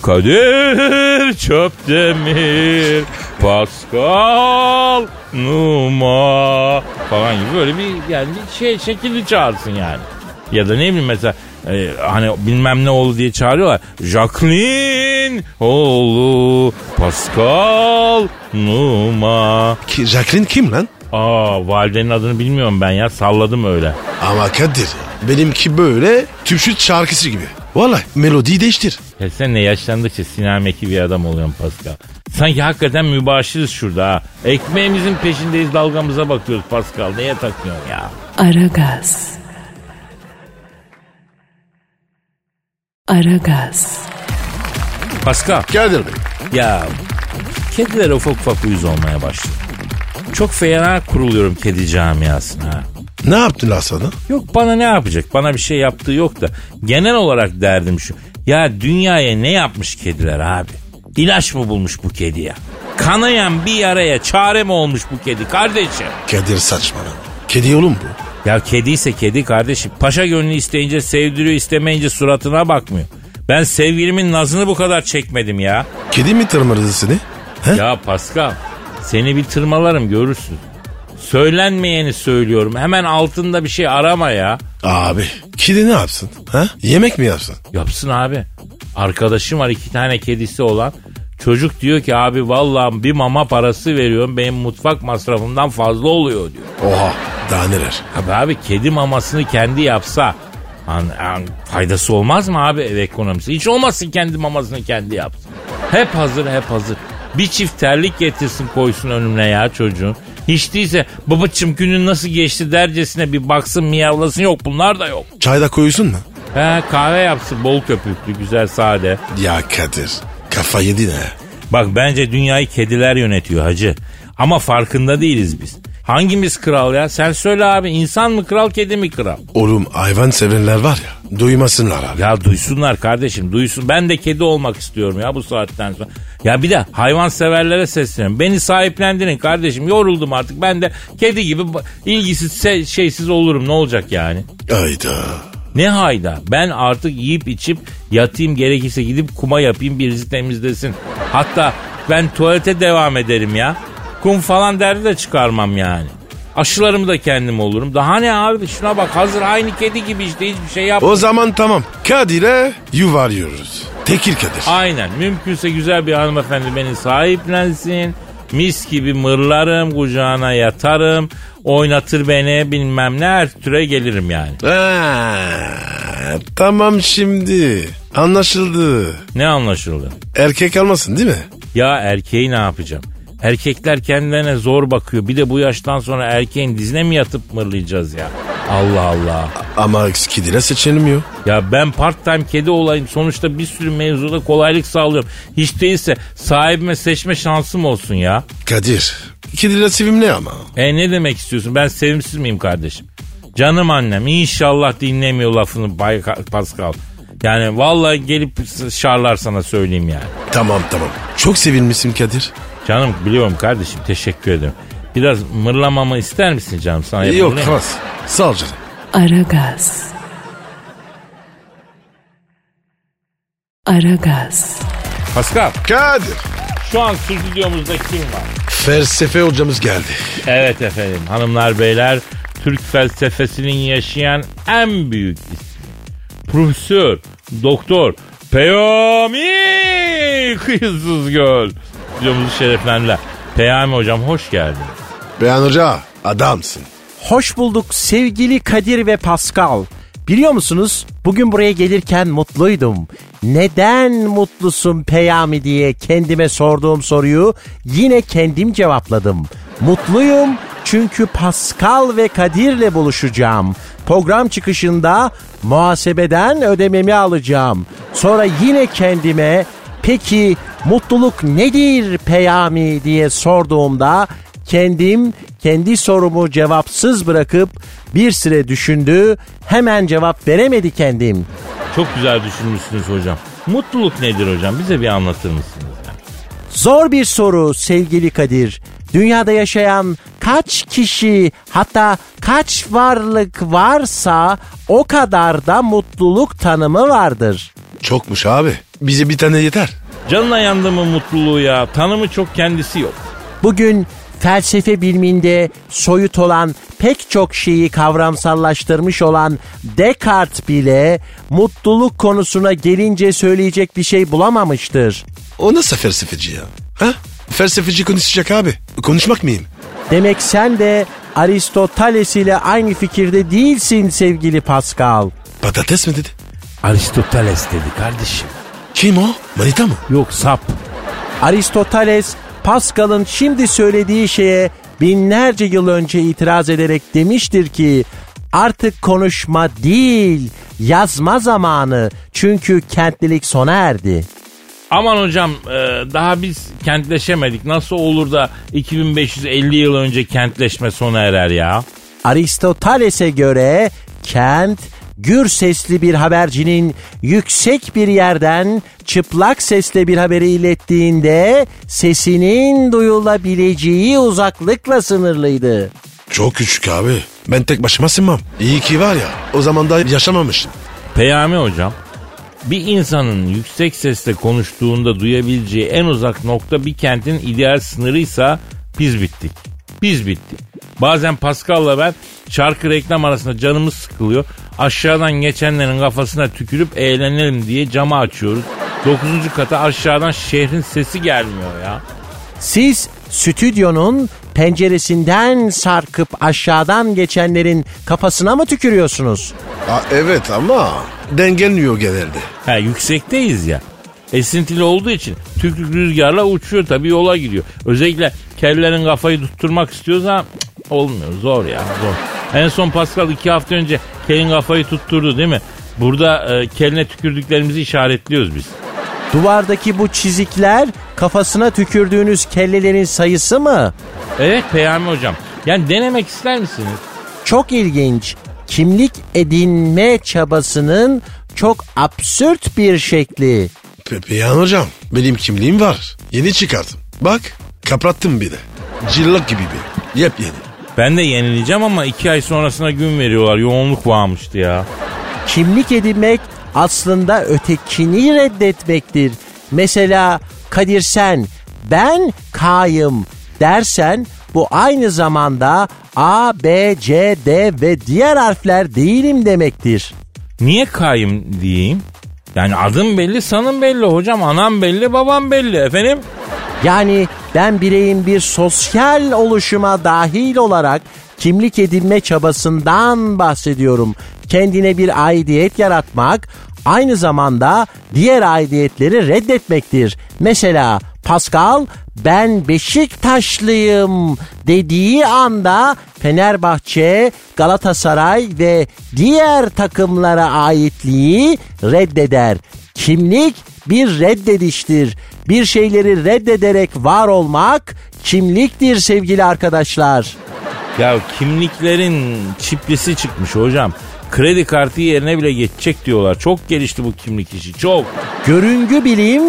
B: Kadir Çöpdemir Pascal Numa falan gibi böyle bir yani bir şey şekilli çağırsın yani. Ya da ne bileyim mesela e, hani bilmem ne oldu diye çağırıyorlar. Jacqueline oğlu Pascal Numa.
C: Ki, Jacqueline kim lan?
B: Aa validenin adını bilmiyorum ben ya salladım öyle.
C: Ama Kadir benimki böyle tüpşüt şarkısı gibi. Vallahi melodiyi değiştir.
B: Ya sen ne yaşlandıkça sinemeki bir adam oluyorsun Pascal. Sanki hakikaten mübaşiriz şurada ha. Ekmeğimizin peşindeyiz dalgamıza bakıyoruz Pascal. Neye takıyorsun ya?
A: Aragaz. Aragaz.
B: Pascal
C: Kadir Bey.
B: ya kediler ufak ufak uyuz olmaya başladı. Çok fena kuruluyorum kedi camiasına. ha.
C: Ne yaptın lan sana?
B: Yok bana ne yapacak? Bana bir şey yaptığı yok da. Genel olarak derdim şu. Ya dünyaya ne yapmış kediler abi? İlaç mı bulmuş bu kedi ya? Kanayan bir yaraya çare mi olmuş bu kedi kardeşim?
C: Kadir saçmalama. Kedi oğlum bu.
B: Ya kediyse kedi kardeşim. Paşa gönlü isteyince sevdiriyor istemeyince suratına bakmıyor. Ben sevgilimin nazını bu kadar çekmedim ya.
C: Kedi mi tırmırdı seni? He?
B: ya Pascal seni bir tırmalarım görürsün. Söylenmeyeni söylüyorum. Hemen altında bir şey arama ya.
C: Abi kedi ne yapsın? Ha? Yemek mi yapsın?
B: Yapsın abi. Arkadaşım var iki tane kedisi olan. Çocuk diyor ki abi vallahi bir mama parası veriyorum benim mutfak masrafımdan fazla oluyor diyor.
C: Oha daha neler.
B: Abi, abi kedi mamasını kendi yapsa an, an- faydası olmaz mı abi ev ekonomisi? Hiç olmasın kendi mamasını kendi yapsın. Hep hazır hep hazır. Bir çift terlik getirsin koysun önüne ya çocuğun. Hiç değilse babacım günün nasıl geçti dercesine bir baksın miyavlasın yok bunlar da yok.
C: Çayda koyuyorsun mu?
B: He kahve yapsın bol köpüklü güzel sade.
C: Ya Kadir kafa yedi ne?
B: Bak bence dünyayı kediler yönetiyor hacı. Ama farkında değiliz biz. Hangimiz kral ya? Sen söyle abi insan mı kral kedi mi kral?
C: Oğlum hayvan sevenler var ya duymasınlar abi.
B: Ya duysunlar kardeşim duysun. Ben de kedi olmak istiyorum ya bu saatten sonra. Ya bir de hayvan severlere sesleniyorum. Beni sahiplendirin kardeşim. Yoruldum artık. Ben de kedi gibi ba- ilgisiz se- şeysiz olurum. Ne olacak yani?
C: Ayda.
B: Ne hayda? Ben artık yiyip içip yatayım gerekirse gidip kuma yapayım birisi temizlesin. Hatta ben tuvalete devam ederim ya. Kum falan derdi de çıkarmam yani. Aşılarımı da kendim olurum. Daha ne abi şuna bak hazır aynı kedi gibi işte hiçbir şey yap.
C: O zaman tamam Kadir'e yuvarlıyoruz. Tekir Kadir.
B: Aynen. Mümkünse güzel bir hanımefendi beni sahiplensin. Mis gibi mırlarım, kucağına yatarım. Oynatır beni bilmem ne her türe gelirim yani.
C: Ha, tamam şimdi anlaşıldı.
B: Ne anlaşıldı?
C: Erkek almasın değil mi?
B: Ya erkeği ne yapacağım? Erkekler kendilerine zor bakıyor. Bir de bu yaştan sonra erkeğin dizine mi yatıp mırlayacağız ya? Allah Allah.
C: Ama kidire seçilmiyor.
B: Ya ben part time kedi olayım sonuçta bir sürü mevzuda kolaylık sağlıyorum. Hiç değilse sahibime seçme şansım olsun ya.
C: Kadir. Kidire sevimli ama.
B: E ne demek istiyorsun ben sevimsiz miyim kardeşim? Canım annem inşallah dinlemiyor lafını Bay Ka- Pascal. Yani vallahi gelip s- şarlar sana söyleyeyim yani.
C: Tamam tamam. Çok sevinmişsin Kadir.
B: Canım biliyorum kardeşim teşekkür ederim. Biraz mırlamamı ister misin canım sana?
C: Yok
B: yapabilir miyim?
C: klas. Sağ ol canım.
A: Aragaz. Aragaz.
B: Pascal
C: Kadir.
B: şu an stüdyomuzda kim var?
C: Felsefe hocamız geldi.
B: Evet efendim hanımlar beyler Türk felsefesinin yaşayan en büyük ismi. Profesör, doktor, Peyami Kıyısızgöl. Stüdyomuzu şereflendiler. Peyami hocam hoş geldin.
C: Beyan hoca adamsın.
D: Hoş bulduk sevgili Kadir ve Pascal. Biliyor musunuz bugün buraya gelirken mutluydum. Neden mutlusun Peyami diye kendime sorduğum soruyu yine kendim cevapladım. Mutluyum çünkü Pascal ve Kadir'le buluşacağım. Program çıkışında muhasebeden ödememi alacağım. Sonra yine kendime peki mutluluk nedir Peyami diye sorduğumda Kendim kendi sorumu cevapsız bırakıp bir süre düşündü. Hemen cevap veremedi kendim.
B: Çok güzel düşünmüşsünüz hocam. Mutluluk nedir hocam? Bize bir anlatır mısınız? yani?
D: Zor bir soru sevgili Kadir. Dünyada yaşayan kaç kişi hatta kaç varlık varsa o kadar da mutluluk tanımı vardır.
C: Çokmuş abi. Bize bir tane yeter.
B: Canına yandı mı mutluluğu ya? Tanımı çok kendisi yok.
D: Bugün felsefe biliminde soyut olan pek çok şeyi kavramsallaştırmış olan Descartes bile mutluluk konusuna gelince söyleyecek bir şey bulamamıştır.
C: O nasıl felsefeci ya? Ha? Felsefeci konuşacak abi. Konuşmak mıyım?
D: Demek sen de Aristoteles ile aynı fikirde değilsin sevgili Pascal.
C: Patates mi dedi?
B: Aristoteles dedi kardeşim.
C: Kim o? Manita mı?
B: Yok sap.
D: Aristoteles Pascal'ın şimdi söylediği şeye binlerce yıl önce itiraz ederek demiştir ki artık konuşma değil yazma zamanı çünkü kentlilik sona erdi.
B: Aman hocam e, daha biz kentleşemedik. Nasıl olur da 2550 yıl önce kentleşme sona erer ya?
D: Aristoteles'e göre kent gür sesli bir habercinin yüksek bir yerden çıplak sesle bir haberi ilettiğinde sesinin duyulabileceği uzaklıkla sınırlıydı.
C: Çok küçük abi. Ben tek başıma sığmam. İyi ki var ya. O zaman da yaşamamıştım.
B: Peyami hocam bir insanın yüksek sesle konuştuğunda duyabileceği en uzak nokta bir kentin ideal sınırıysa biz bittik. Biz bittik. Bazen Pascal'la ben şarkı reklam arasında canımız sıkılıyor. Aşağıdan geçenlerin kafasına tükürüp eğlenelim diye cama açıyoruz. 9. kata aşağıdan şehrin sesi gelmiyor ya.
D: Siz stüdyonun penceresinden sarkıp aşağıdan geçenlerin kafasına mı tükürüyorsunuz?
C: Aa, evet ama dengelmiyor genelde.
B: Ha, yüksekteyiz ya. Esintili olduğu için tüklük rüzgarla uçuyor tabii yola gidiyor. Özellikle kellerin kafayı tutturmak istiyorsa cık, olmuyor zor ya zor. En son Pascal iki hafta önce kelin kafayı tutturdu değil mi? Burada e, keline tükürdüklerimizi işaretliyoruz biz.
D: Duvardaki bu çizikler kafasına tükürdüğünüz kellelerin sayısı mı?
B: Evet Peyami hocam. Yani denemek ister misiniz?
D: çok ilginç kimlik edinme çabasının çok absürt bir şekli.
C: Pe- Peyhan hocam benim kimliğim var. Yeni çıkardım. Bak kaprattım bir de. Cillak gibi bir. Yepyeni.
B: Ben de yenileceğim ama iki ay sonrasına gün veriyorlar. Yoğunluk varmıştı ya.
D: Kimlik edinmek aslında ötekini reddetmektir. Mesela Kadir sen ben K'yım dersen bu aynı zamanda A, B, C, D ve diğer harfler değilim demektir.
B: Niye kayım diyeyim? Yani adım belli, sanım belli hocam. Anam belli, babam belli efendim.
D: Yani ben bireyin bir sosyal oluşuma dahil olarak kimlik edinme çabasından bahsediyorum. Kendine bir aidiyet yaratmak aynı zamanda diğer aidiyetleri reddetmektir. Mesela Pascal ben Beşiktaşlıyım dediği anda Fenerbahçe, Galatasaray ve diğer takımlara aitliği reddeder. Kimlik bir reddediştir. Bir şeyleri reddederek var olmak kimliktir sevgili arkadaşlar.
B: Ya kimliklerin çiplisi çıkmış hocam. Kredi kartı yerine bile geçecek diyorlar. Çok gelişti bu kimlik işi çok.
D: Görüngü bilim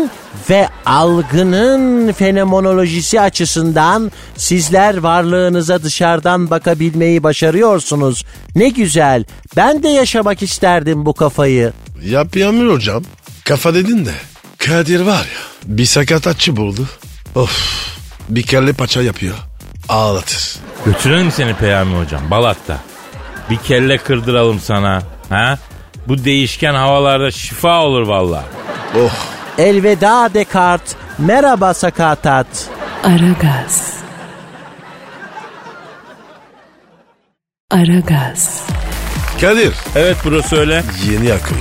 D: ve algının fenomenolojisi açısından sizler varlığınıza dışarıdan bakabilmeyi başarıyorsunuz. Ne güzel. Ben de yaşamak isterdim bu kafayı.
C: Yapamıyor hocam. Kafa dedin de. Kadir var ya bir sakatatçı buldu. Of bir kelle paça yapıyor. Ağlatır.
B: Götürelim seni Peyami hocam Balat'ta. Bir kelle kırdıralım sana. Ha? Bu değişken havalarda şifa olur valla.
C: Oh
D: Elveda Descartes. Merhaba sakatat.
A: Aragaz. Aragaz.
C: Kadir
B: Evet burası öyle.
C: yeni akım.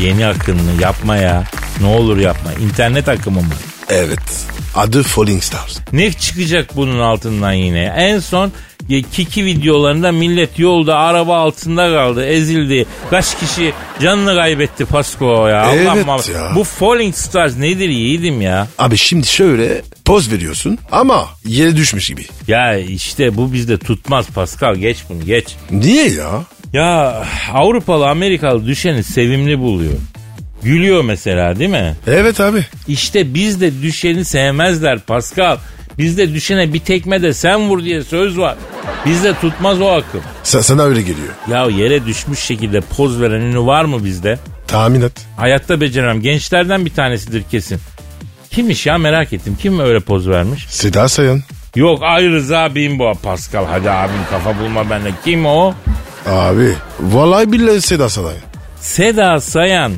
B: Yeni akımını yapma ya. Ne olur yapma. İnternet akımı mı?
C: Evet adı Falling Stars.
B: Ne çıkacak bunun altından yine? En son e, Kiki videolarında millet yolda araba altında kaldı, ezildi. Kaç kişi canını kaybetti Pasko ya.
C: Evet
B: Allah muhafaza.
C: ya.
B: Bu Falling Stars nedir yiğidim ya?
C: Abi şimdi şöyle poz veriyorsun ama yere düşmüş gibi.
B: Ya işte bu bizde tutmaz Pascal geç bunu geç.
C: Niye ya?
B: Ya Avrupalı Amerikalı düşeni sevimli buluyor. Gülüyor mesela değil mi?
C: Evet abi.
B: İşte bizde düşeni sevmezler Pascal. Bizde düşene bir tekme de sen vur diye söz var. Bizde tutmaz o akım.
C: Sa- sana öyle geliyor.
B: Ya yere düşmüş şekilde poz veren ünlü var mı bizde?
C: Tahmin et.
B: Hayatta beceremem. Gençlerden bir tanesidir kesin. Kimmiş ya merak ettim. Kim öyle poz vermiş?
C: Seda Sayan.
B: Yok ay Rıza Bimbo Pascal. Hadi abim kafa bulma bende. Kim o?
C: Abi vallahi billahi Seda Sayan.
B: Seda Sayan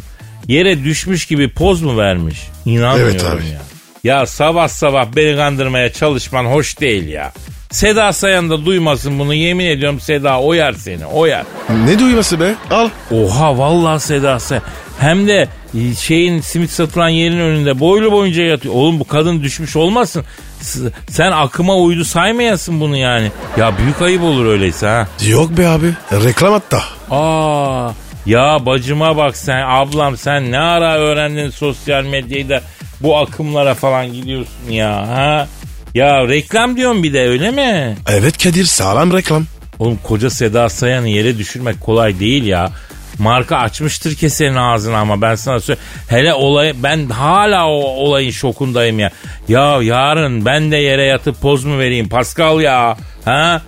B: yere düşmüş gibi poz mu vermiş? İnanmıyorum
C: Evet abi.
B: ya. Ya sabah sabah beni kandırmaya çalışman hoş değil ya. Seda Sayan da duymasın bunu yemin ediyorum Seda oyar seni oyar.
C: Ne duyması be? Al.
B: Oha vallahi Seda Sayan. Hem de e, şeyin simit satılan yerin önünde boylu boyunca yatıyor. Oğlum bu kadın düşmüş olmasın. S- Sen akıma uydu saymayasın bunu yani. Ya büyük ayıp olur öyleyse ha.
C: Yok be abi. Reklam hatta.
B: Aa ya bacıma bak sen ablam sen ne ara öğrendin sosyal medyayı da bu akımlara falan gidiyorsun ya ha? Ya reklam diyorsun bir de öyle mi?
C: Evet Kadir sağlam reklam.
B: Oğlum koca Seda Sayan'ı yere düşürmek kolay değil ya. Marka açmıştır kesenin ağzını ama ben sana söyleyeyim. Hele olay ben hala o olayın şokundayım ya. Ya yarın ben de yere yatıp poz mu vereyim Pascal ya? Ha?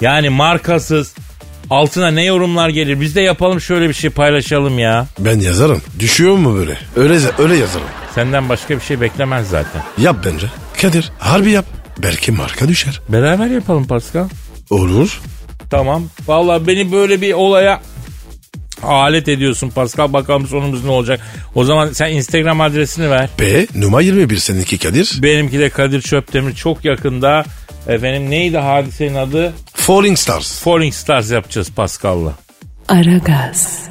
B: Yani markasız altına ne yorumlar gelir? Biz de yapalım şöyle bir şey paylaşalım ya.
C: Ben yazarım. Düşüyor mu böyle? Öyle öyle yazarım.
B: Senden başka bir şey beklemez zaten.
C: Yap bence. Kadir harbi yap. Belki marka düşer.
B: Beraber yapalım Pascal.
C: Olur.
B: Tamam. Vallahi beni böyle bir olaya alet ediyorsun Pascal. Bakalım sonumuz ne olacak. O zaman sen Instagram adresini ver.
C: B numara 21 seninki Kadir.
B: Benimki de Kadir Çöptemir çok yakında. Efendim neydi hadisenin adı?
C: Falling Stars.
B: Falling Stars yapacağız Pascal'la.
A: Aragaz.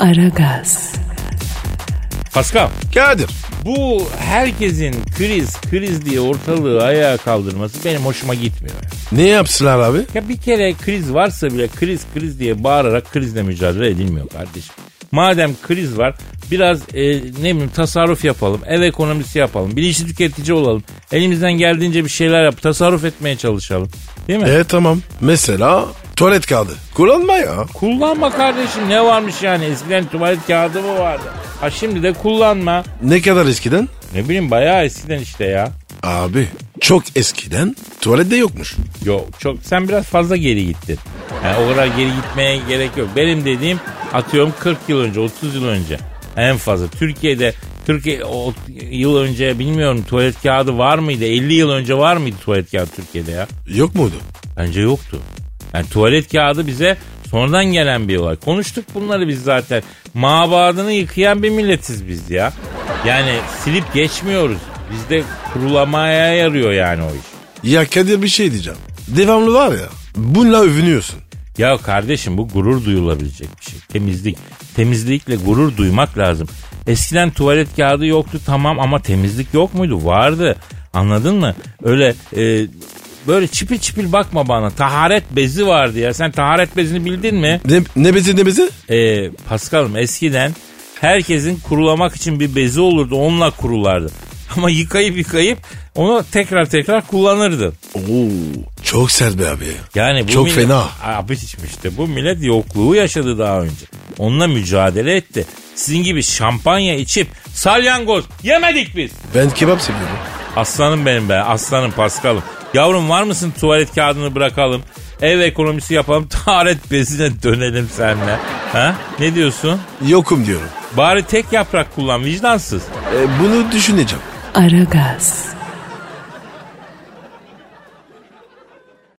A: Aragaz.
B: Pascal
C: Kadir.
B: bu herkesin kriz kriz diye ortalığı ayağa kaldırması benim hoşuma gitmiyor.
C: Ne yapsınlar abi?
B: Ya bir kere kriz varsa bile kriz kriz diye bağırarak krizle mücadele edilmiyor kardeşim. Madem kriz var biraz e, ne bileyim tasarruf yapalım, ev ekonomisi yapalım, bilinçli tüketici olalım. Elimizden geldiğince bir şeyler yap, tasarruf etmeye çalışalım. Değil mi?
C: E tamam. Mesela tuvalet kağıdı. Kullanma ya.
B: Kullanma kardeşim ne varmış yani eskiden tuvalet kağıdı mı vardı? Ha şimdi de kullanma.
C: Ne kadar eskiden?
B: Ne bileyim bayağı eskiden işte ya.
C: Abi çok eskiden tuvalette yokmuş.
B: Yok çok sen biraz fazla geri gittin. Yani o kadar geri gitmeye gerek yok. Benim dediğim atıyorum 40 yıl önce 30 yıl önce en fazla. Türkiye'de 40 y- o- yıl önce bilmiyorum tuvalet kağıdı var mıydı? 50 yıl önce var mıydı tuvalet kağıdı Türkiye'de ya?
C: Yok muydu?
B: Bence yoktu. Yani tuvalet kağıdı bize sonradan gelen bir olay. Konuştuk bunları biz zaten. Mabadını yıkayan bir milletiz biz ya. Yani silip geçmiyoruz. Bizde kurulamaya yarıyor yani o iş.
C: Ya Kadir bir şey diyeceğim. Devamlı var ya. Bununla övünüyorsun.
B: Ya kardeşim bu gurur duyulabilecek bir şey. Temizlik. Temizlikle gurur duymak lazım. Eskiden tuvalet kağıdı yoktu tamam ama temizlik yok muydu? Vardı. Anladın mı? Öyle e, böyle çipil çipil bakma bana. Taharet bezi vardı ya. Sen taharet bezini bildin mi?
C: Ne, ne bezi ne bezi?
B: E, Paskal'ım eskiden herkesin kurulamak için bir bezi olurdu. Onunla kurulardı. Ama yıkayıp yıkayıp onu tekrar tekrar kullanırdın.
C: Oo, çok sert be abi.
B: Yani bu
C: Çok
B: millet-
C: fena.
B: Abi işte bu millet yokluğu yaşadı daha önce. Onunla mücadele etti. Sizin gibi şampanya içip salyangoz yemedik biz.
C: Ben kebap seviyorum.
B: Aslanım benim be aslanım Paskal'ım. Yavrum var mısın tuvalet kağıdını bırakalım. Ev ekonomisi yapalım taharet bezine dönelim seninle. Ha? Ne diyorsun?
C: Yokum diyorum.
B: Bari tek yaprak kullan vicdansız.
C: E, bunu düşüneceğim.
A: Aragaz.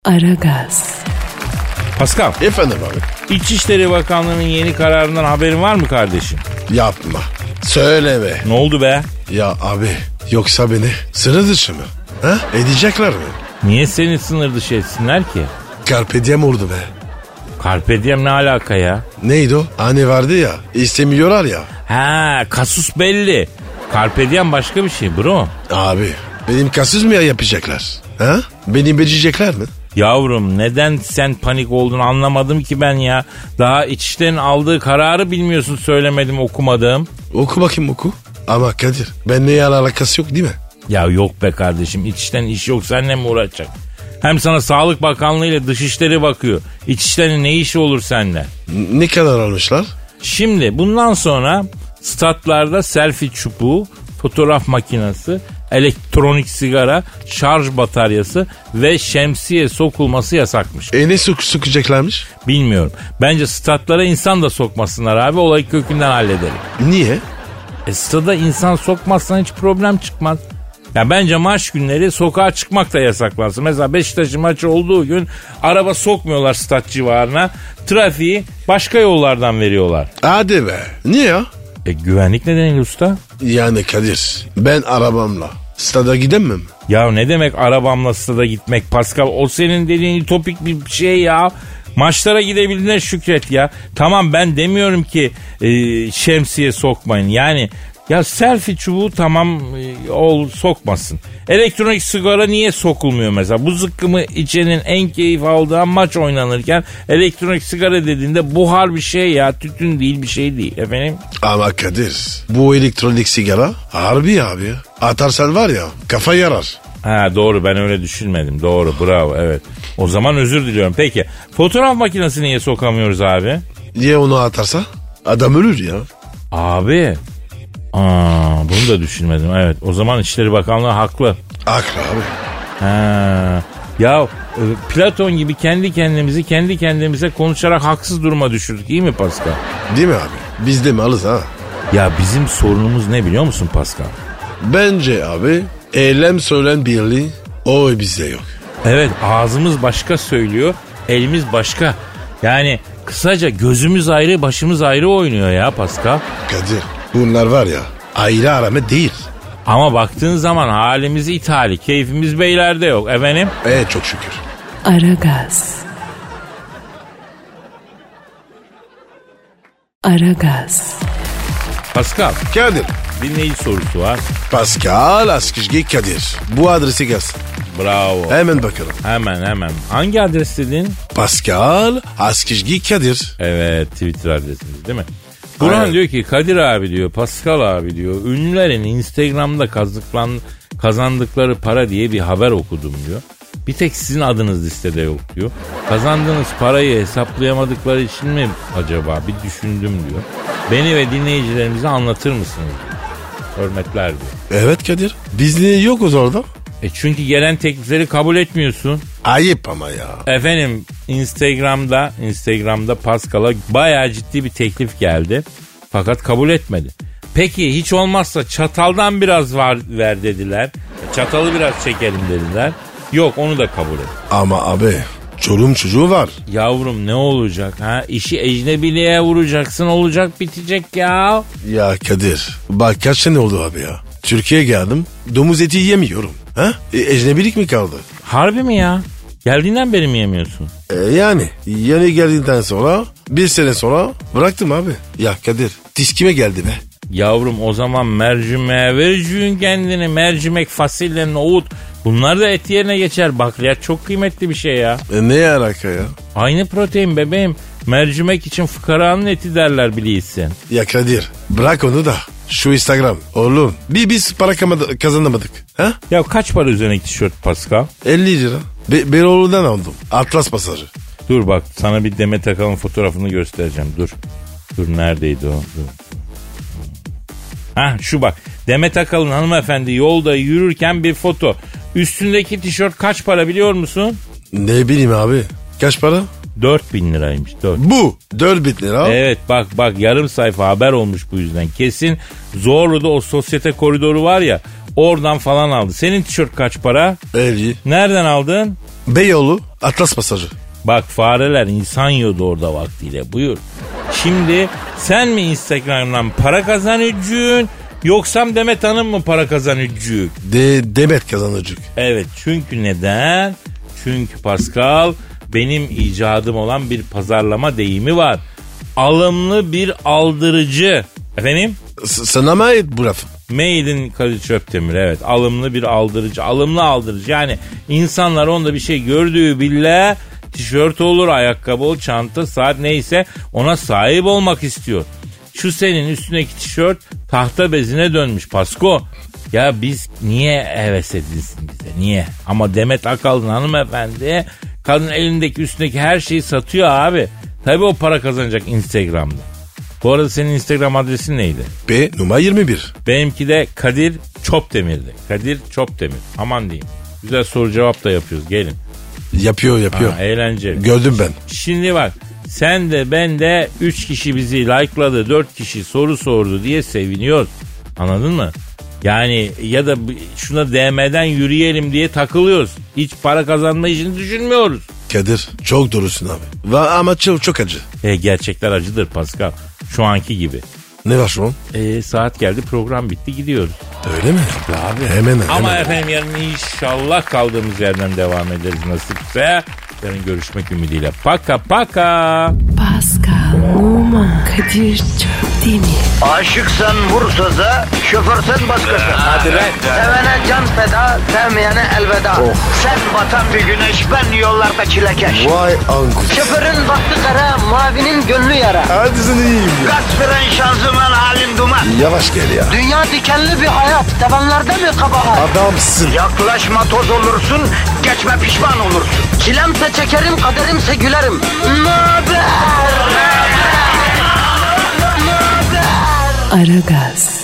A: Aragaz.
B: Paskal
C: Efendim abi.
B: İçişleri Bakanlığı'nın yeni kararından haberin var mı kardeşim?
C: Yapma. Söyleme.
B: Ne oldu be?
C: Ya abi yoksa beni sıra dışı mı? Ha? Edecekler mi?
B: Niye seni sınır dışı etsinler ki?
C: Carpe diem oldu be.
B: Carpe diem ne alaka ya?
C: Neydi o? Hani vardı ya. istemiyorlar ya.
B: Ha kasus belli. Carpe diem başka bir şey bro.
C: Abi benim kasız mı ya yapacaklar? Ha? Beni bececekler mi?
B: Yavrum neden sen panik oldun anlamadım ki ben ya. Daha içten aldığı kararı bilmiyorsun söylemedim okumadım.
C: Oku bakayım oku. Ama Kadir benimle alakası yok değil mi?
B: Ya yok be kardeşim içten iş yok senle mi uğraşacak? Hem sana Sağlık Bakanlığı ile Dışişleri bakıyor. İçişleri ne işi olur seninle?
C: N- ne kadar almışlar?
B: Şimdi bundan sonra statlarda selfie çubuğu, fotoğraf makinesi, elektronik sigara, şarj bataryası ve şemsiye sokulması yasakmış.
C: E ne sok sokacaklarmış?
B: Bilmiyorum. Bence statlara insan da sokmasınlar abi olayı kökünden halledelim.
C: Niye?
B: E stada insan sokmazsan hiç problem çıkmaz. Ya bence maç günleri sokağa çıkmak da yasaklansın. Mesela Beşiktaş'ın maçı olduğu gün araba sokmuyorlar stat civarına. Trafiği başka yollardan veriyorlar.
C: Hadi be. Niye ya?
B: E güvenlik nedeniyle usta?
C: Yani Kadir ben arabamla stada gidemem.
B: Ya ne demek arabamla stada gitmek Pascal? O senin dediğin topik bir şey ya. Maçlara gidebildiğine şükret ya. Tamam ben demiyorum ki e, şemsiye sokmayın. Yani ya selfie çubuğu tamam e, ol sokmasın. Elektronik sigara niye sokulmuyor mesela? Bu zıkkımı içenin en keyif aldığı maç oynanırken elektronik sigara dediğinde buhar bir şey ya. Tütün değil bir şey değil efendim.
C: Ama Kadir bu elektronik sigara harbi abi. Atarsan var ya kafa yarar.
B: Ha doğru ben öyle düşünmedim. Doğru bravo evet. O zaman özür diliyorum. Peki fotoğraf makinesini niye sokamıyoruz abi?
C: Niye onu atarsa? Adam ölür ya.
B: Abi. Aa, bunu da düşünmedim evet. O zaman İçişleri Bakanlığı haklı.
C: Akra abi.
B: Ha. Ya e, Platon gibi kendi kendimizi kendi kendimize konuşarak haksız duruma düşürdük iyi mi Pascal?
C: Değil mi abi? Biz de mi alız ha?
B: Ya bizim sorunumuz ne biliyor musun Pascal?
C: Bence abi eylem söylen birliği o bizde yok.
B: Evet ağzımız başka söylüyor, elimiz başka. Yani kısaca gözümüz ayrı, başımız ayrı oynuyor ya Pascal.
C: Kadir bunlar var ya ayrı arame değil.
B: Ama baktığın zaman halimiz ithali, keyfimiz beylerde yok efendim.
C: E çok şükür.
A: Aragaz. Aragaz.
B: Pascal,
C: Kadir.
B: dinleyici sorusu var.
C: Pascal Askışgi Kadir. Bu adresi gelsin.
B: Bravo.
C: Hemen bakalım.
B: Hemen hemen. Hangi adres dedin?
C: Pascal Askışgi Kadir.
B: Evet, Twitter adresimiz değil mi? Burhan
C: Aynen.
B: diyor ki Kadir abi diyor, Pascal abi diyor. Ünlülerin Instagram'da kazıklan, kazandıkları para diye bir haber okudum diyor. Bir tek sizin adınız listede yok diyor. Kazandığınız parayı hesaplayamadıkları için mi acaba bir düşündüm diyor. Beni ve dinleyicilerimize anlatır mısınız? Hürmetler diyor.
C: Evet Kadir. Biz niye yokuz orada?
B: E çünkü gelen teklifleri kabul etmiyorsun.
C: Ayıp ama ya.
B: Efendim Instagram'da Instagram'da Pascal'a bayağı ciddi bir teklif geldi. Fakat kabul etmedi. Peki hiç olmazsa çataldan biraz var, ver dediler. Çatalı biraz çekelim dediler. Yok onu da kabul et.
C: Ama abi çorum çocuğu var.
B: Yavrum ne olacak ha? İşi ecnebiliğe vuracaksın olacak bitecek ya.
C: Ya Kadir bak kaç sene oldu abi ya. Türkiye'ye geldim domuz eti yemiyorum. Ha? E, ecnebilik mi kaldı?
B: Harbi mi ya? Geldiğinden beri mi yemiyorsun?
C: E, yani yeni geldikten sonra bir sene sonra bıraktım abi. Ya Kadir tiskime geldi be.
B: Yavrum o zaman mercimeğe vereceğin kendini. Mercimek, fasulye, nohut. Bunlar da et yerine geçer. Bakliyat çok kıymetli bir şey ya.
C: E ne alaka ya?
B: Aynı protein bebeğim. Mercimek için fıkaranın eti derler bilirsin.
C: Ya Kadir bırak onu da. Şu Instagram. Oğlum bir biz para kamada- kazanamadık. Ha?
B: Ya kaç para üzerine tişört Pascal?
C: 50 lira. Be Beyoğlu'ndan aldım. Atlas pasarı.
B: Dur bak sana bir Demet Akalın fotoğrafını göstereceğim. Dur. Dur neredeydi o? Dur. Ha şu bak. Demet Akalın hanımefendi yolda yürürken bir foto. Üstündeki tişört kaç para biliyor musun?
C: Ne bileyim abi. Kaç para?
B: 4000 liraymış. 4.
C: Bu. 4000 lira.
B: Evet bak bak yarım sayfa haber olmuş bu yüzden. Kesin Zorlu'da o sosyete koridoru var ya oradan falan aldı. Senin tişört kaç para?
C: 50.
B: Nereden aldın?
C: Beyoğlu Atlas pasajı.
B: Bak fareler insan yiyordu orada vaktiyle buyur. Şimdi sen mi Instagram'dan para kazanıcın yoksa Demet Hanım mı para kazanıcı?
C: De Demet kazanacak.
B: Evet çünkü neden? Çünkü Pascal benim icadım olan bir pazarlama deyimi var. Alımlı bir aldırıcı. Efendim?
C: S- sana mı ait bu laf?
B: Mail'in Kadir Çöptemir evet alımlı bir aldırıcı alımlı aldırıcı yani insanlar onda bir şey gördüğü bile tişört olur ayakkabı olur çanta saat neyse ona sahip olmak istiyor. Şu senin üstündeki tişört tahta bezine dönmüş Pasko. Ya biz niye heves edilsin bize niye? Ama Demet Akalın hanımefendi kadın elindeki üstündeki her şeyi satıyor abi. Tabii o para kazanacak Instagram'da. Bu arada senin Instagram adresin neydi?
C: B numara 21.
B: Benimki de Kadir Çopdemir'di. Kadir Çopdemir. Aman diyeyim. Güzel soru cevap da yapıyoruz. Gelin.
C: Yapıyor
B: Ha, e-
C: yapıyor.
B: eğlenceli.
C: Gördüm ben.
B: Şimdi bak sen de ben de 3 kişi bizi likeladı 4 kişi soru sordu diye seviniyoruz. Anladın mı? Yani ya da bu- şuna DM'den yürüyelim diye takılıyoruz. Hiç para kazanma işini düşünmüyoruz.
C: Kadir çok doğrusun abi. Va ama çok, çok acı.
B: E, gerçekler acıdır Pascal. Şu anki gibi.
C: Ne var şu an?
B: E, saat geldi program bitti gidiyoruz.
C: Öyle mi? Abi hemen hemen.
B: Ama efendim yarın inşallah kaldığımız yerden devam ederiz nasipse. Yarın görüşmek ümidiyle. Paka paka.
A: Pascal, Oman, Kadir çok değil mi?
E: Aşıksan vursa da, şoförsen başkasın. Hadi
B: lan.
E: Sevene can feda, sevmeyene elveda. Sen batan bir güneş, ben yollarda çilekeş.
C: Vay anku.
E: Şoförün baktı kara, mavinin gönlü yara.
C: Hadi sen iyiyim ya.
E: Kasperen şanzıman halin duman.
C: Yavaş gel ya.
E: Dünya dikenli bir hayat, sevenlerde mi kabahar?
C: Adamsın.
E: Yaklaşma toz olursun, geçme pişman olursun. Çilemse çekerim, kaderimse gülerim. Möber!
A: Aragaz.